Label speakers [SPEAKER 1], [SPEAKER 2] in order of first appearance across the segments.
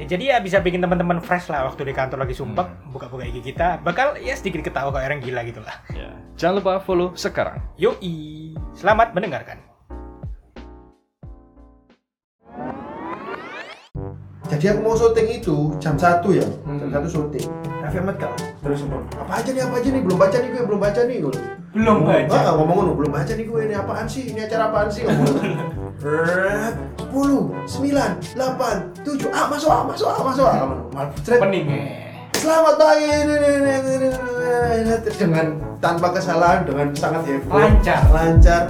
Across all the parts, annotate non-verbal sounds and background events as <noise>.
[SPEAKER 1] Ya, jadi ya bisa bikin teman-teman fresh lah waktu di kantor lagi sumpah
[SPEAKER 2] Hmm.
[SPEAKER 1] buka-buka IG kita bakal ya sedikit ketawa kayak orang gila gitu lah.
[SPEAKER 2] Ya. Jangan lupa follow sekarang.
[SPEAKER 1] Yoi, selamat mendengarkan.
[SPEAKER 3] Jadi aku mau syuting itu jam 1 ya, jam
[SPEAKER 1] Hmm.
[SPEAKER 3] 1 syuting. Raffi Ahmad gak?
[SPEAKER 1] Terus
[SPEAKER 3] Apa aja nih, apa aja nih, belum baca nih gue, belum baca nih gue.
[SPEAKER 1] Belum baca.
[SPEAKER 3] Ah, ngomong ngono, belum baca nih gue, ini apaan sih, ini acara apaan sih ngomong.
[SPEAKER 1] <laughs>
[SPEAKER 3] Eh, Red, 10, 9, 8, 7, ah masuk, ah masuk, ah masuk, ah Mal putret.
[SPEAKER 1] Pening. eh.
[SPEAKER 3] Selamat pagi, ini, ini, ini, ini, ini, ini, ini. dengan tanpa kesalahan, dengan sangat heboh.
[SPEAKER 1] Lancar.
[SPEAKER 3] Lancar.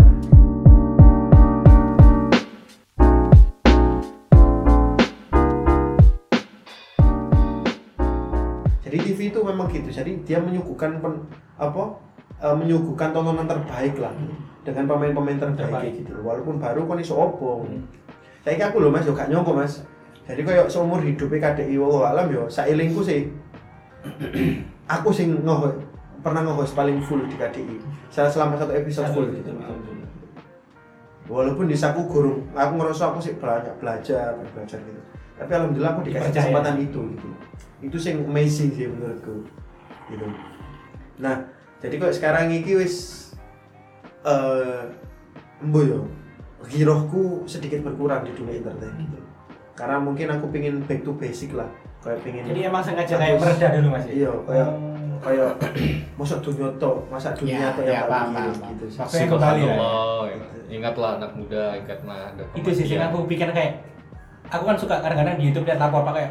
[SPEAKER 3] Jadi TV itu memang gitu. Jadi dia menyuguhkan pen- apa? eh, menyuguhkan tontonan terbaik lah dengan pemain-pemain terbaik,
[SPEAKER 1] Terbaik.
[SPEAKER 3] gitu. loh. Walaupun baru kan iso opo. Saya aku loh Mas, yo gak nyongko Mas. Jadi koyo seumur e hidupe KDI wo alam yo sailingku sih. aku sing ngeho pernah nge-host paling full di KDI. Saya selama satu episode full gitu. Walaupun di saku gurung, aku ngerasa aku sih banyak belajar, banyak belajar gitu. Tapi alhamdulillah aku dikasih
[SPEAKER 1] Dipercaya.
[SPEAKER 3] kesempatan itu gitu. Itu sih yang amazing sih menurutku. Gitu. Nah, jadi kok sekarang iki wis eh embo yo girohku sedikit berkurang di dunia entertain gitu. Karena mungkin aku pingin back to basic lah. Kayak pingin
[SPEAKER 1] Jadi emang sengaja kayak mereda dulu Mas. ya?
[SPEAKER 3] Iya, kayak
[SPEAKER 1] Hmm.
[SPEAKER 3] kayak masa dunia tok, masa dunia
[SPEAKER 1] Ya,
[SPEAKER 3] tok
[SPEAKER 1] ya,
[SPEAKER 3] yang tak
[SPEAKER 1] paham,
[SPEAKER 3] pikir
[SPEAKER 1] paham,
[SPEAKER 3] gitu. sih.
[SPEAKER 1] paham. Saya kembali ya.
[SPEAKER 4] Subhanallah, ya. Ingatlah anak muda, ingatlah ada
[SPEAKER 1] itu sih yang
[SPEAKER 3] Iya.
[SPEAKER 4] kematian.
[SPEAKER 1] aku pikir kayak aku kan suka kadang-kadang di YouTube lihat lapor pakai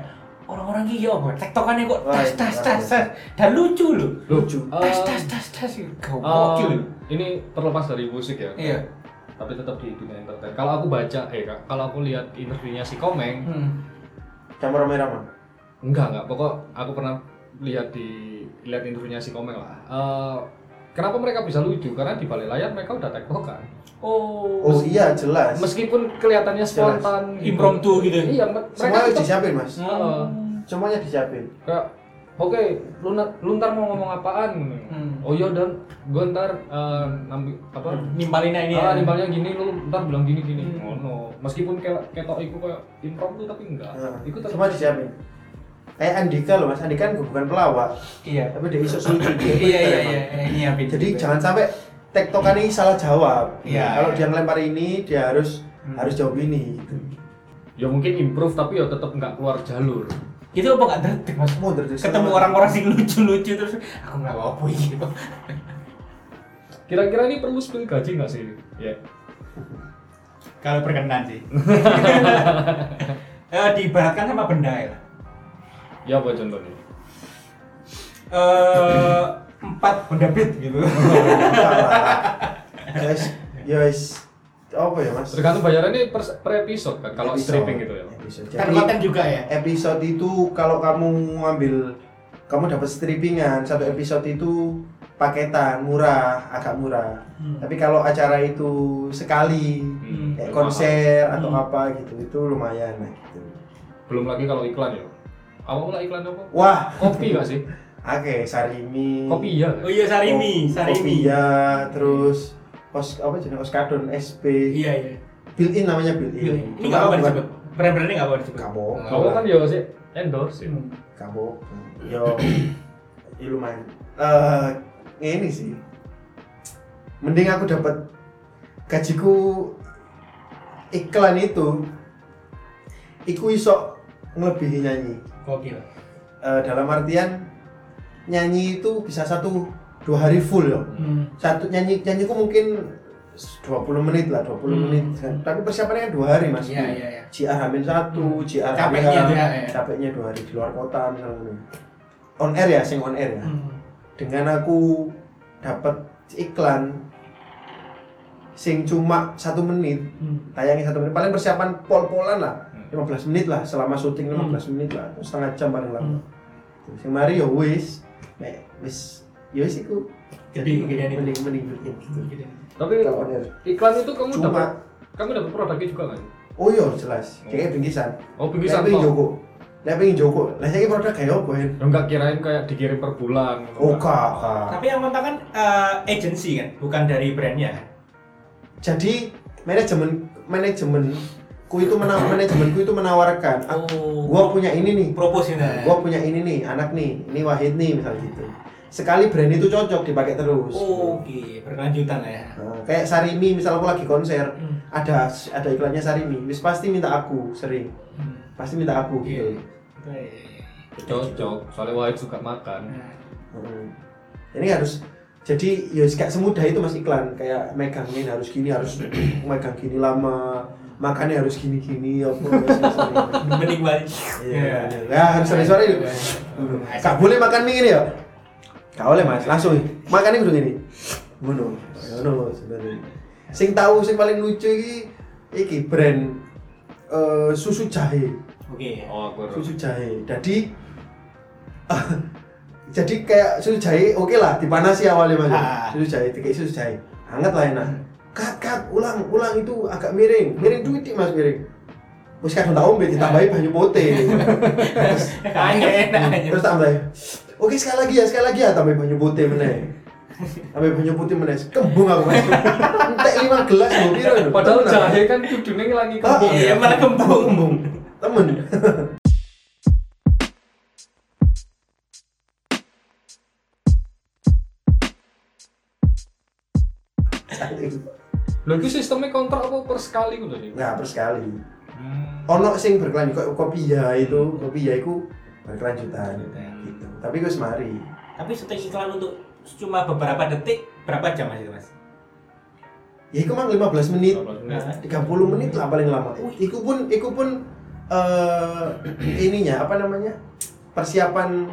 [SPEAKER 1] orang-orang gila kok tektokannya kok
[SPEAKER 3] Wah,
[SPEAKER 1] tas
[SPEAKER 3] iya,
[SPEAKER 1] tas
[SPEAKER 3] iya. Oh.
[SPEAKER 1] tas tas dan lucu loh
[SPEAKER 3] Lucu.
[SPEAKER 1] tas
[SPEAKER 4] Eh,
[SPEAKER 1] tas tas tas
[SPEAKER 4] eh,
[SPEAKER 3] Oh.
[SPEAKER 1] gokil loh
[SPEAKER 4] ini terlepas dari musik ya,
[SPEAKER 1] iya
[SPEAKER 4] tapi tetap di dunia entertain. Kalau aku baca, eh Kak, kalau aku lihat interviewnya si Komeng,
[SPEAKER 1] hmm.
[SPEAKER 3] Campur rame-rame.
[SPEAKER 4] enggak enggak. Pokok aku pernah lihat di lihat interviewnya si Komeng lah. Eh, kenapa mereka bisa lucu? Karena di balik layar mereka udah tektokan.
[SPEAKER 1] oh
[SPEAKER 3] Oh iya jelas.
[SPEAKER 4] Meskipun kelihatannya spontan, gitu.
[SPEAKER 1] Impromptu gitu.
[SPEAKER 4] Iya, me- mereka
[SPEAKER 3] Semuanya
[SPEAKER 4] tetap-
[SPEAKER 3] disiapin mas.
[SPEAKER 1] Hmm.
[SPEAKER 4] Heeh.
[SPEAKER 3] Semuanya disiapin.
[SPEAKER 4] kayak oke lu, na- lu ntar mau ngomong apaan
[SPEAKER 1] Hmm.
[SPEAKER 4] oh iya dan gue ntar eh, nambi- apa
[SPEAKER 1] nimpalinnya
[SPEAKER 3] Oh,
[SPEAKER 1] ini ya.
[SPEAKER 4] ah nimbalnya gini lu ntar bilang gini gini
[SPEAKER 1] Iya. Hmm.
[SPEAKER 4] oh no meskipun kayak ketok iku kayak impromptu tapi enggak
[SPEAKER 1] Iya.
[SPEAKER 3] Nah,
[SPEAKER 4] iku tetap
[SPEAKER 3] semua disiapin. Kayak Andika loh mas, Andika kan bukan pelawak,
[SPEAKER 1] iya
[SPEAKER 3] tapi dia isu lucu.
[SPEAKER 1] iya iya
[SPEAKER 3] dia pinter,
[SPEAKER 1] iya
[SPEAKER 3] emang.
[SPEAKER 1] iya, nyiapin
[SPEAKER 3] Jadi jangan sampai tektokan ini salah jawab.
[SPEAKER 1] Iya, iya.
[SPEAKER 3] Kalau
[SPEAKER 1] Hmm.
[SPEAKER 3] dia ngelempar ini, dia harus harus jawab ini. Gitu.
[SPEAKER 4] ya mungkin improve tapi ya tetap enggak keluar jalur
[SPEAKER 1] itu apa gak tertik mas
[SPEAKER 3] Mau dari sana.
[SPEAKER 1] ketemu orang-orang sing lucu-lucu terus aku nggak mau apa gitu
[SPEAKER 4] kira-kira ini perlu spill gaji nggak sih ya
[SPEAKER 1] kalau berkenan sih <laughs> Eh, diibaratkan sama benda ya
[SPEAKER 4] ya apa contohnya
[SPEAKER 1] eh empat Honda Beat gitu.
[SPEAKER 3] Guys, ya guys, apa ya mas?
[SPEAKER 4] tergantung bayarannya per, per episode kan kalau
[SPEAKER 3] Episode. Hmm.
[SPEAKER 4] stripping gitu ya
[SPEAKER 3] Episode.
[SPEAKER 1] Kan
[SPEAKER 3] Jadi-
[SPEAKER 1] konten juga ya.
[SPEAKER 3] episode itu kalau kamu ngambil kamu dapat strippingan satu episode itu paketan murah agak murah
[SPEAKER 1] Hmm.
[SPEAKER 3] tapi kalau acara itu sekali
[SPEAKER 4] Hmm,
[SPEAKER 3] kayak
[SPEAKER 4] mahal.
[SPEAKER 3] konser atau
[SPEAKER 1] Hmm.
[SPEAKER 3] apa gitu itu lumayan nah, gitu.
[SPEAKER 4] ah. belum lagi kalau iklan ya apa pula iklan apa
[SPEAKER 3] wah
[SPEAKER 4] kopi nggak sih
[SPEAKER 3] oke sarimi
[SPEAKER 4] kopi ya
[SPEAKER 1] Oh iya Sarimi,
[SPEAKER 3] Ko-
[SPEAKER 1] Sarimi.
[SPEAKER 3] kopiya, terus os apa jenis oskadon sp
[SPEAKER 1] Iya iya.
[SPEAKER 3] built in namanya built
[SPEAKER 1] Ini
[SPEAKER 3] in Cuma
[SPEAKER 1] nggak apa-apa
[SPEAKER 3] bukan-
[SPEAKER 1] disebut. Brand-brand ini nggak apa-apa disebut.
[SPEAKER 3] kamu
[SPEAKER 4] kamu kan ya sih endorse ya.
[SPEAKER 1] Hmm.
[SPEAKER 3] kamu yo ya lumayan Eh, ini sih mending aku dapat gajiku iklan itu iku iso ngelebihi nyanyi
[SPEAKER 1] Gokil.
[SPEAKER 3] Eh, dalam artian nyanyi itu bisa satu dua hari full loh
[SPEAKER 1] Hmm.
[SPEAKER 3] satu nyanyi nyanyiku mungkin 20 menit lah 20
[SPEAKER 1] Hmm.
[SPEAKER 3] menit tapi persiapannya dua hari mas
[SPEAKER 1] Iya iya iya.
[SPEAKER 3] JR Hamin satu,
[SPEAKER 1] Hmm.
[SPEAKER 3] JR
[SPEAKER 1] Capeknya
[SPEAKER 3] Hamin-
[SPEAKER 1] juga, ya.
[SPEAKER 3] capeknya dua hari di luar kota misalnya gitu. on air ya, sing on air ya.
[SPEAKER 1] Hmm.
[SPEAKER 3] Dengan aku dapat iklan sing cuma satu menit,
[SPEAKER 1] Hmm.
[SPEAKER 3] tayangnya satu menit, paling persiapan pol-polan lah,
[SPEAKER 4] Hmm.
[SPEAKER 3] 15 menit lah, selama
[SPEAKER 1] Hmm.
[SPEAKER 3] syuting 15 menit lah, atau setengah jam paling lama. Sing mari ya wis, nek wis, ya wis iku jadi
[SPEAKER 1] Gede-gedean itu.
[SPEAKER 3] mending mending bikin gitu
[SPEAKER 4] Tapi
[SPEAKER 3] Kita on air.
[SPEAKER 4] iklan itu kamu
[SPEAKER 3] Cuma-
[SPEAKER 4] dapat kamu dapat produknya juga kan?
[SPEAKER 3] oh iya jelas
[SPEAKER 1] Hmm.
[SPEAKER 3] kayak bingkisan
[SPEAKER 4] Oh, bingkisan,
[SPEAKER 3] tapi
[SPEAKER 4] Pak.
[SPEAKER 3] joko lah pengen joko lah saya produk kayak apa ya
[SPEAKER 4] Ya enggak kirain kayak dikirim per bulan. gitu,
[SPEAKER 3] oh
[SPEAKER 4] Kak.
[SPEAKER 3] kak kak.
[SPEAKER 1] Tapi yang kontak kan eh, agency kan, bukan dari brandnya kan.
[SPEAKER 3] jadi manajemen manajemen ku itu mena manajemenku itu menawarkan aku
[SPEAKER 1] Oh, Iya.
[SPEAKER 3] gua punya ini nih
[SPEAKER 1] proporsional.
[SPEAKER 3] gua punya ini nih anak nih ini Wahid nih misal gitu sekali brand itu cocok dipakai terus
[SPEAKER 1] Oh, Oke, berkelanjutan lah ya.
[SPEAKER 3] Nah, kayak Sarimi misal aku lagi konser
[SPEAKER 1] Hmm.
[SPEAKER 3] ada ada iklannya Sarimi wis pasti minta aku sering
[SPEAKER 1] Hmm.
[SPEAKER 3] pasti minta aku gitu
[SPEAKER 1] Iya. Baik.
[SPEAKER 4] Cocok, soalnya Wahid suka makan.
[SPEAKER 1] Nah,
[SPEAKER 3] Heeh. Hmm. ini harus jadi ya gak semudah itu mas iklan kayak megang ini harus gini harus <clears throat> megang gini lama makannya harus gini gini apa
[SPEAKER 1] Mending balik.
[SPEAKER 3] Iya, ya harus ada suara itu. Gak boleh makan mie ini ya. Gak boleh mas, langsung makannya kudu gini. Ngono, ngono loh sebenarnya. Sing tahu sing paling lucu iki iki brand eh, susu jahe,
[SPEAKER 1] Oke. <laughs>
[SPEAKER 4] Oh, aku harus.
[SPEAKER 3] susu jahe. Jadi <laughs> jadi kayak susu jahe oke lah dipanasi awalnya mas.
[SPEAKER 1] Ah.
[SPEAKER 3] Susu jahe, kayak susu jahe, hangat lah enak. Kat, kat, ulang, ulang itu agak miring, miring duit mas miring. Wis kadung tak ombe ditambahi banyu pote.
[SPEAKER 1] Kayaknya enak aja.
[SPEAKER 3] Terus tambah. Oke sekali lagi ya, sekali lagi ya tambah banyu putih meneh. Tambah banyu putih meneh. Kembung aku mas. Entek lima gelas lho piro lho.
[SPEAKER 4] Iya, Padahal jahe kan kudune ngelangi
[SPEAKER 3] Ah,
[SPEAKER 4] kebun.
[SPEAKER 1] Iya, malah kembung.
[SPEAKER 3] Kembung. Temen.
[SPEAKER 4] Lho itu sistemnya kontrak apa per sekali gitu sih?
[SPEAKER 3] Nah, per sekali. Ono sing berkelanjut kok kopi ya itu, kopi ya iku berkelanjutan
[SPEAKER 1] Hmm.
[SPEAKER 3] gitu. Tapi gue semari.
[SPEAKER 1] Tapi syuting iklan untuk cuma beberapa detik, berapa jam mas itu mas?
[SPEAKER 3] Ya iku mang 15 menit.
[SPEAKER 4] 15 menit.
[SPEAKER 3] 30 menit lah paling lama. Uh, Iku pun iku pun eh <clears throat> ininya apa namanya? persiapan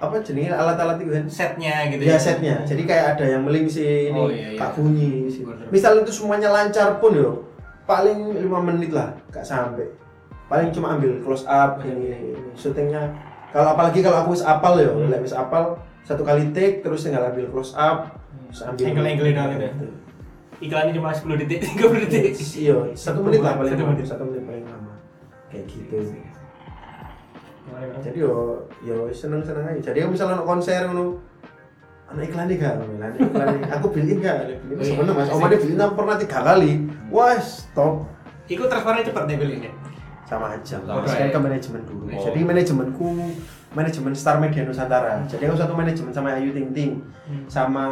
[SPEAKER 3] apa jenenge alat-alat itu kan.
[SPEAKER 1] Setnya gitu
[SPEAKER 3] Ya setnya. Jadi kayak ada yang melingsi ini,
[SPEAKER 1] Oh, iya, iya.
[SPEAKER 3] Kak Bunyi. sih.
[SPEAKER 1] Bener.
[SPEAKER 3] Misal itu semuanya lancar pun yo paling 5 menit lah, gak sampai. Paling cuma ambil close up ini, ini, ini. syutingnya. Kalau apalagi kalau aku wis apal yo,
[SPEAKER 1] Hmm.
[SPEAKER 3] lek wis apal satu kali take terus tinggal ambil close up, terus ambil
[SPEAKER 1] Hmm.
[SPEAKER 3] Nah,
[SPEAKER 1] Angle-angle doang gitu ya? Iklannya cuma 10 detik, <laughs> 30 detik.
[SPEAKER 3] Iya, satu menit lah paling
[SPEAKER 1] Satu
[SPEAKER 3] lama.
[SPEAKER 1] menit. Iya,
[SPEAKER 3] Satu menit paling lama. Kayak gitu. Jadi yo yo seneng seneng aja. Jadi misalnya ono konser ngono, ono iklan nih gak? Ono iklan- iklan nih. Aku beliin gak? Beliin
[SPEAKER 4] Oh iya.
[SPEAKER 1] Wih.
[SPEAKER 3] sebenarnya mas. Omade beliin aku pernah tiga kali. Wah stop
[SPEAKER 1] Ikut transfernya cepet deh belinya.
[SPEAKER 3] sama aja.
[SPEAKER 4] Sama
[SPEAKER 3] Mas
[SPEAKER 4] aja.
[SPEAKER 3] kan ke manajemen dulu.
[SPEAKER 4] Oh.
[SPEAKER 3] Jadi manajemenku manajemen Star Media Nusantara. Jadi aku satu manajemen sama Ayu Ting Ting,
[SPEAKER 4] Hmm.
[SPEAKER 3] sama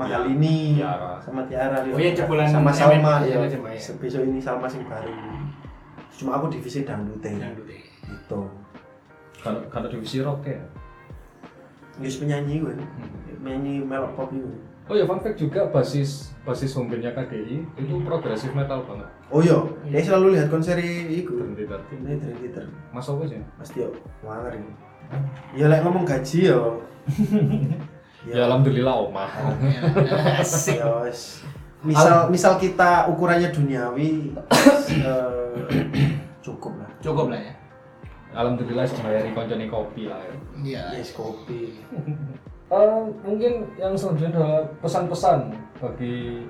[SPEAKER 3] Mahalini,
[SPEAKER 4] Tiara.
[SPEAKER 3] sama Tiara,
[SPEAKER 1] Oh iya, cepulan
[SPEAKER 3] sama
[SPEAKER 1] MN,
[SPEAKER 3] Salma.
[SPEAKER 4] ya,
[SPEAKER 1] iya,
[SPEAKER 3] Iya.
[SPEAKER 1] sama, iya.
[SPEAKER 3] Besok ini Salma sing baru. Cuma aku divisi dangdutin.
[SPEAKER 4] Ya.
[SPEAKER 3] gitu
[SPEAKER 4] Kalau kalau divisi rock ya.
[SPEAKER 3] Yus penyanyi gue
[SPEAKER 4] Hmm.
[SPEAKER 3] penyanyi melok pop itu
[SPEAKER 4] Oh ya fun fact juga basis basis hombenya KDI itu progresif metal banget.
[SPEAKER 3] oh iya dia selalu lihat konser iku
[SPEAKER 4] Berhenti tadi.
[SPEAKER 3] ini dari Twitter
[SPEAKER 4] Mas apa sih?
[SPEAKER 3] pasti yo wanger ini ya Iya. lek ngomong gaji yo
[SPEAKER 4] Ya alhamdulillah omah.
[SPEAKER 1] Asik.
[SPEAKER 3] yo wis. Iya, misal misal kita ukurannya duniawi eh, cukup lah
[SPEAKER 1] Cukup lah ya.
[SPEAKER 4] Alhamdulillah dibayari koncone kopi lah ya.
[SPEAKER 1] Iya.
[SPEAKER 3] yes kopi
[SPEAKER 4] Eh, mungkin yang selanjutnya adalah pesan-pesan bagi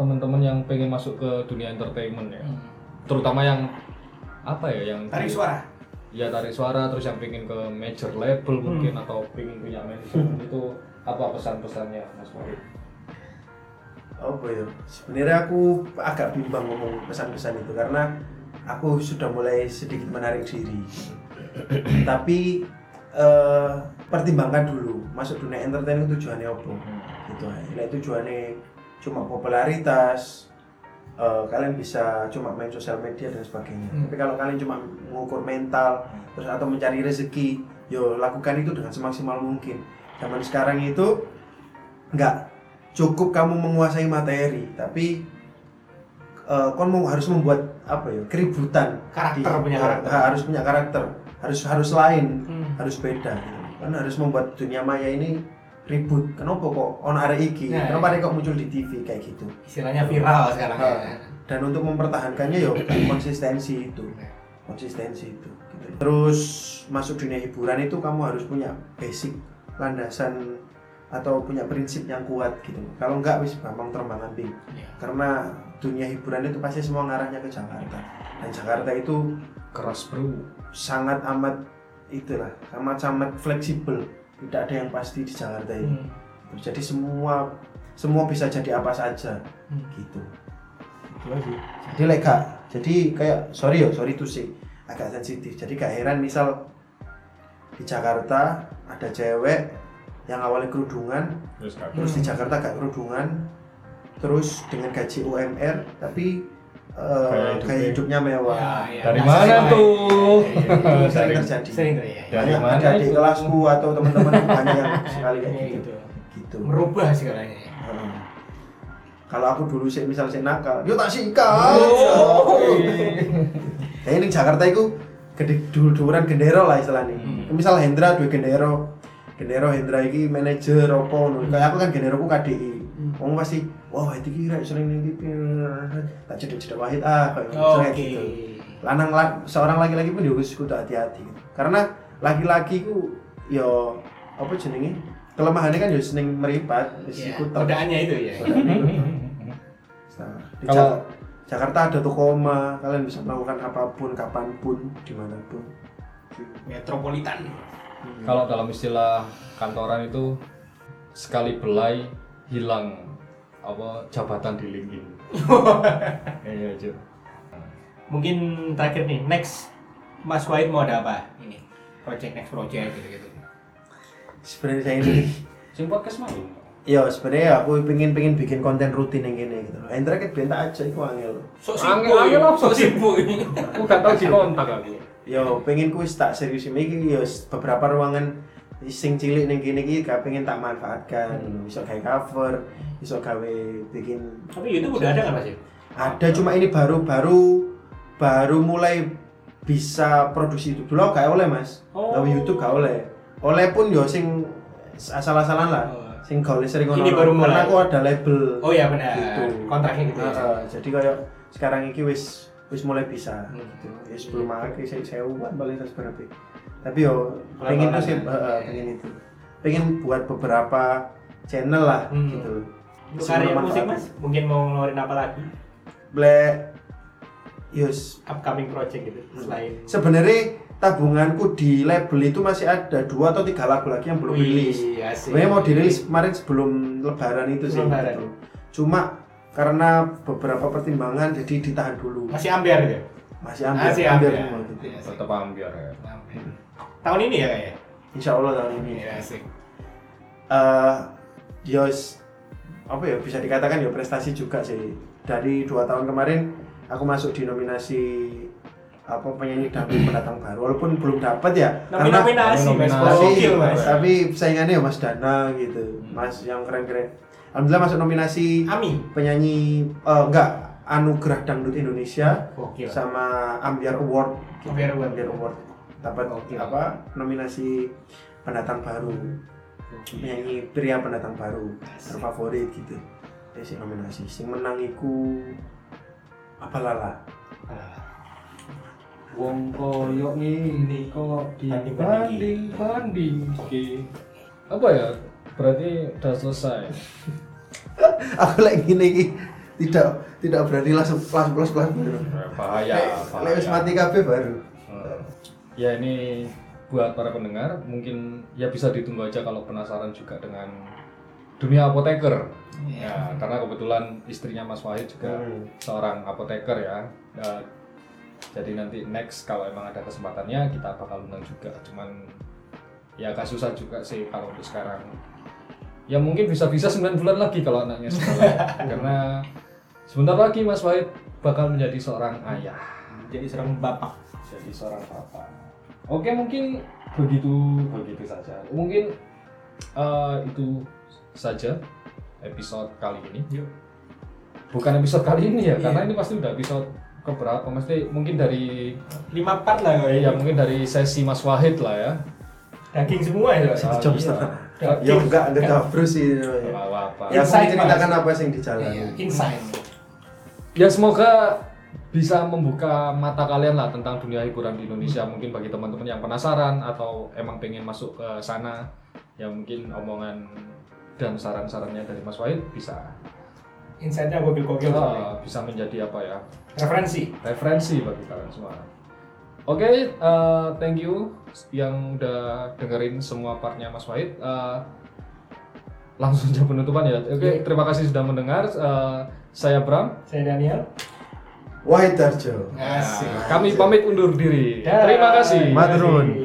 [SPEAKER 4] teman-teman yang pengen masuk ke dunia entertainment ya terutama yang apa ya yang
[SPEAKER 1] Tarik suara.
[SPEAKER 4] ya tarik suara terus yang pengen ke major label mungkin atau pengen punya manajemen itu apa pesan-pesannya Mas Wahid?
[SPEAKER 3] apa ya sebenarnya aku agak bimbang ngomong pesan-pesan itu karena aku sudah mulai sedikit menarik diri tapi eh, pertimbangkan dulu masuk dunia entertainment tujuannya apa gitu aja Nek tujuannya cuma popularitas eh, kalian bisa cuma main sosial media dan sebagainya
[SPEAKER 1] Hmm.
[SPEAKER 3] tapi kalau kalian cuma mengukur mental terus atau mencari rezeki yo lakukan itu dengan semaksimal mungkin zaman sekarang itu nggak cukup kamu menguasai materi tapi eh, kon mau harus membuat apa ya keributan
[SPEAKER 1] Karakter, punya
[SPEAKER 3] eh,
[SPEAKER 1] karakter.
[SPEAKER 3] ha- harus punya karakter harus harus lain
[SPEAKER 1] Hmm.
[SPEAKER 3] harus beda gitu. kan harus membuat dunia maya ini ribut kenapa kok on arek iki
[SPEAKER 1] Nah,
[SPEAKER 3] kenapa
[SPEAKER 1] iya.
[SPEAKER 3] arek kok muncul di TV kayak gitu
[SPEAKER 1] Istilahnya viral sekarang ya.
[SPEAKER 3] Ha. dan untuk mempertahankannya
[SPEAKER 1] <clears throat>
[SPEAKER 3] ya konsistensi itu
[SPEAKER 1] Nah.
[SPEAKER 3] konsistensi itu gitu. terus masuk dunia hiburan itu kamu harus punya basic landasan atau punya prinsip yang kuat gitu kalau enggak wis gampang terbang ambing
[SPEAKER 1] Iya.
[SPEAKER 3] karena dunia hiburan itu pasti semua ngarahnya ke Jakarta dan Jakarta itu
[SPEAKER 4] keras bro
[SPEAKER 3] sangat amat itulah amat amat fleksibel tidak ada yang pasti di Jakarta ini
[SPEAKER 1] Hmm.
[SPEAKER 3] Terus jadi semua semua bisa jadi apa saja
[SPEAKER 1] Hmm.
[SPEAKER 3] gitu
[SPEAKER 1] Itu lagi.
[SPEAKER 3] jadi like gak- jadi kayak sorry yo sorry tuh sih agak sensitif jadi gak heran misal di Jakarta ada cewek yang awalnya kerudungan
[SPEAKER 5] terus kak
[SPEAKER 4] kan.
[SPEAKER 3] terus di
[SPEAKER 1] Hmm.
[SPEAKER 3] Jakarta gak kerudungan terus dengan gaji UMR tapi eh,
[SPEAKER 5] Gaya hidupnya.
[SPEAKER 3] gaya hidupnya mewah
[SPEAKER 1] Ya, ya.
[SPEAKER 4] Dari
[SPEAKER 1] Nah,
[SPEAKER 4] mana
[SPEAKER 1] sering-
[SPEAKER 4] tuh?
[SPEAKER 3] itu sering
[SPEAKER 5] Sering-
[SPEAKER 3] terjadi
[SPEAKER 1] <laughs> Sering tuh ya.
[SPEAKER 4] Dari
[SPEAKER 3] banyak
[SPEAKER 4] mana
[SPEAKER 3] ada di
[SPEAKER 4] itu?
[SPEAKER 3] kelasku atau teman-teman aku banyak yang sekali kayak
[SPEAKER 1] Iya, gitu.
[SPEAKER 3] gitu gitu
[SPEAKER 1] Merubah segalanya. ya.
[SPEAKER 3] Heeh. kalau aku dulu sih misal sih nakal yo tak sikat
[SPEAKER 1] Oh.
[SPEAKER 3] ya ini Jakarta itu gede dulu-duluan gendero lah istilahnya misal Hendra dua gendero gendero Hendra ini manajer apa ngono. kayak aku kan gendero aku KDI Wong pasti, wah itu kira sering ning TV, tak cedek-cedek wahid ah, kayak misalnya
[SPEAKER 1] Oke.
[SPEAKER 3] gitu. Lanang la- seorang laki-laki pun juga kudu hati-hati. gitu. Karena laki-laki ku yo apa jenenge? Kelemahannya kan yo seneng meripat, wis
[SPEAKER 1] Ya,
[SPEAKER 3] iku tok.
[SPEAKER 1] Godaannya itu ya.
[SPEAKER 3] Godaannya iku tok. Nah, di
[SPEAKER 4] Kalau-
[SPEAKER 3] Ja- Jakarta ada Tokoma, kalian bisa melakukan apapun, kapanpun, dimanapun.
[SPEAKER 1] Metropolitan.
[SPEAKER 4] <laughs> kalau dalam istilah kantoran itu sekali belai hilang apa jabatan di LinkedIn <laughs> iya Cuk.
[SPEAKER 1] Mungkin terakhir nih, next Mas Wahid mau ada apa? Ini project next project gitu-gitu.
[SPEAKER 3] Sebenarnya saya ini,
[SPEAKER 4] sing podcast malu
[SPEAKER 3] yo sebenarnya aku pengen pengen bikin konten rutin yang gini gitu. Hendra kan bentar aja, iku angel.
[SPEAKER 1] Sok
[SPEAKER 4] Angel- angel apa?
[SPEAKER 1] sok sibuk.
[SPEAKER 4] aku gak tau di kontak aku
[SPEAKER 3] Yo, pengen ku wis tak serius iki yo s- beberapa ruangan sing cilik ning kene iki gak pengen tak manfaatkan.
[SPEAKER 1] Hmm.
[SPEAKER 3] Iso gawe cover, iso gawe bikin
[SPEAKER 1] Tapi YouTube udah ada nggak Mas?
[SPEAKER 3] ada cuma ini baru-baru baru mulai bisa produksi YouTube dulu aku gak oleh, Mas.
[SPEAKER 1] Oh.
[SPEAKER 3] Tapi YouTube gak oleh. Oleh pun yo sing asal-asalan lah.
[SPEAKER 1] Oh.
[SPEAKER 3] Sing gak oleh sering
[SPEAKER 1] Ini baru mulai.
[SPEAKER 3] Karena aku ada label.
[SPEAKER 1] Oh iya benar.
[SPEAKER 3] Gitu.
[SPEAKER 1] Kontraknya gitu ya.
[SPEAKER 3] Heeh, jadi kayak sekarang iki wis wis mulai bisa.
[SPEAKER 1] Hmm.
[SPEAKER 3] Gitu. Ya sebelum malah kayak saya sewuan kan paling terus berapa. Tapi yo
[SPEAKER 1] Pelan-pelan
[SPEAKER 3] pengen tuh sih,
[SPEAKER 1] ya.
[SPEAKER 3] heeh, pengen itu. Pengen buat beberapa channel lah
[SPEAKER 1] Hmm.
[SPEAKER 3] gitu.
[SPEAKER 1] Untuk
[SPEAKER 3] Sebelum
[SPEAKER 1] karya musik
[SPEAKER 3] manfaat.
[SPEAKER 1] Mas, mungkin mau ngeluarin apa lagi?
[SPEAKER 3] Black Yus.
[SPEAKER 1] Upcoming project gitu selain
[SPEAKER 3] Sebenarnya tabunganku di label itu masih ada dua atau tiga lagu lagi yang belum
[SPEAKER 1] Wih,
[SPEAKER 3] rilis.
[SPEAKER 1] asik.
[SPEAKER 3] Sebenarnya mau dirilis kemarin sebelum Lebaran itu sih.
[SPEAKER 1] Sebelum Lebaran.
[SPEAKER 3] gitu. Cuma karena beberapa pertimbangan jadi ditahan dulu.
[SPEAKER 1] Masih ambiar gitu.
[SPEAKER 3] Masih ambil,
[SPEAKER 1] Masih
[SPEAKER 3] ambil
[SPEAKER 1] ambiar.
[SPEAKER 3] semua gitu.
[SPEAKER 1] Iya, asik.
[SPEAKER 4] tetap ambiar ya
[SPEAKER 1] Ambiar. Tahun ini ya kayaknya.
[SPEAKER 3] Insya Allah tahun ini.
[SPEAKER 1] Iya asik.
[SPEAKER 3] Eh, ya s- apa ya bisa dikatakan ya prestasi juga sih. Dari dua tahun kemarin aku masuk di nominasi apa penyanyi
[SPEAKER 1] <clears throat>
[SPEAKER 3] dangdut pendatang baru walaupun belum dapat ya
[SPEAKER 1] Nomin
[SPEAKER 3] karena-
[SPEAKER 1] nominasi Mas.
[SPEAKER 4] Nominasi.
[SPEAKER 3] tapi,
[SPEAKER 1] Gokil Mas. Hmm.
[SPEAKER 3] tapi saingannya ya Mas Dana gitu Mas yang keren-keren Alhamdulillah masuk nominasi
[SPEAKER 1] Ami.
[SPEAKER 3] penyanyi eh, enggak Anugerah Dangdut Indonesia
[SPEAKER 1] Gokil.
[SPEAKER 3] sama Ambiar Award gitu.
[SPEAKER 1] Ambiar Award.
[SPEAKER 3] Award. dapat
[SPEAKER 1] Oke.
[SPEAKER 3] apa nominasi pendatang baru
[SPEAKER 1] Gokil.
[SPEAKER 3] penyanyi pria pendatang baru
[SPEAKER 1] Asik.
[SPEAKER 3] terfavorit gitu ya sih nominasi sing menang iku apa lala
[SPEAKER 1] Ah,
[SPEAKER 4] wong koyo ini kok
[SPEAKER 1] Dibanding-bandingin.
[SPEAKER 4] dibanding banding apa ya berarti udah selesai
[SPEAKER 3] <laughs> aku lagi gini iki tidak tidak berani langsung langsung plus plus baru Ya,
[SPEAKER 4] bahaya
[SPEAKER 3] Lek wis mati kabeh baru
[SPEAKER 4] ya ini buat para pendengar mungkin ya bisa ditunggu aja kalau penasaran juga dengan dunia apoteker ya karena kebetulan istrinya Mas Wahid juga seorang apoteker ya Ya, jadi nanti next kalau emang ada kesempatannya kita bakal undang juga cuman ya agak susah juga sih kalau untuk sekarang ya mungkin bisa-bisa 9 bulan lagi kalau anaknya sekolah karena sebentar lagi Mas Wahid bakal menjadi seorang ayah
[SPEAKER 1] Jadi seorang bapak.
[SPEAKER 4] jadi seorang bapak. Oke mungkin begitu begitu saja. Mungkin eh, itu saja episode kali ini.
[SPEAKER 1] Yuk.
[SPEAKER 4] Bukan episode kali ini ya,
[SPEAKER 1] Iya.
[SPEAKER 4] karena ini pasti udah episode keberapa? Mesti mungkin dari
[SPEAKER 1] Lima part lah
[SPEAKER 4] eh, ya
[SPEAKER 1] kayaknya.
[SPEAKER 4] mungkin dari sesi Mas Wahid lah ya.
[SPEAKER 1] Iya, Daging semua ya. Mas?
[SPEAKER 4] Ah,
[SPEAKER 3] jam
[SPEAKER 4] iya.
[SPEAKER 3] setengah.
[SPEAKER 4] Gak-
[SPEAKER 3] ya enggak enggak cabru sih
[SPEAKER 4] gak
[SPEAKER 3] namanya.
[SPEAKER 4] apa-apa.
[SPEAKER 3] ya aku
[SPEAKER 1] Insight,
[SPEAKER 3] menceritakan
[SPEAKER 1] Mas.
[SPEAKER 3] apa sih yang di jalan
[SPEAKER 1] Iya, Insight.
[SPEAKER 4] ya semoga bisa membuka mata kalian lah tentang dunia hiburan di Indonesia mungkin bagi teman-teman yang penasaran atau emang pengen masuk ke sana ya mungkin omongan dan saran-sarannya dari Mas Wahid bisa
[SPEAKER 1] Insightnya gokil-gokil.
[SPEAKER 4] eh, bisa menjadi apa ya
[SPEAKER 1] Referensi.
[SPEAKER 4] referensi bagi kalian semua. Oke, eh, thank you yang udah dengerin semua partnya Mas Wahid. Eh, langsung aja penutupan ya. Oke, terima kasih sudah mendengar. Eh, saya Bram.
[SPEAKER 1] Saya Daniel.
[SPEAKER 3] Wahid Tarjo.
[SPEAKER 4] Nah, kami pamit undur diri. Terima kasih.
[SPEAKER 3] Madrun.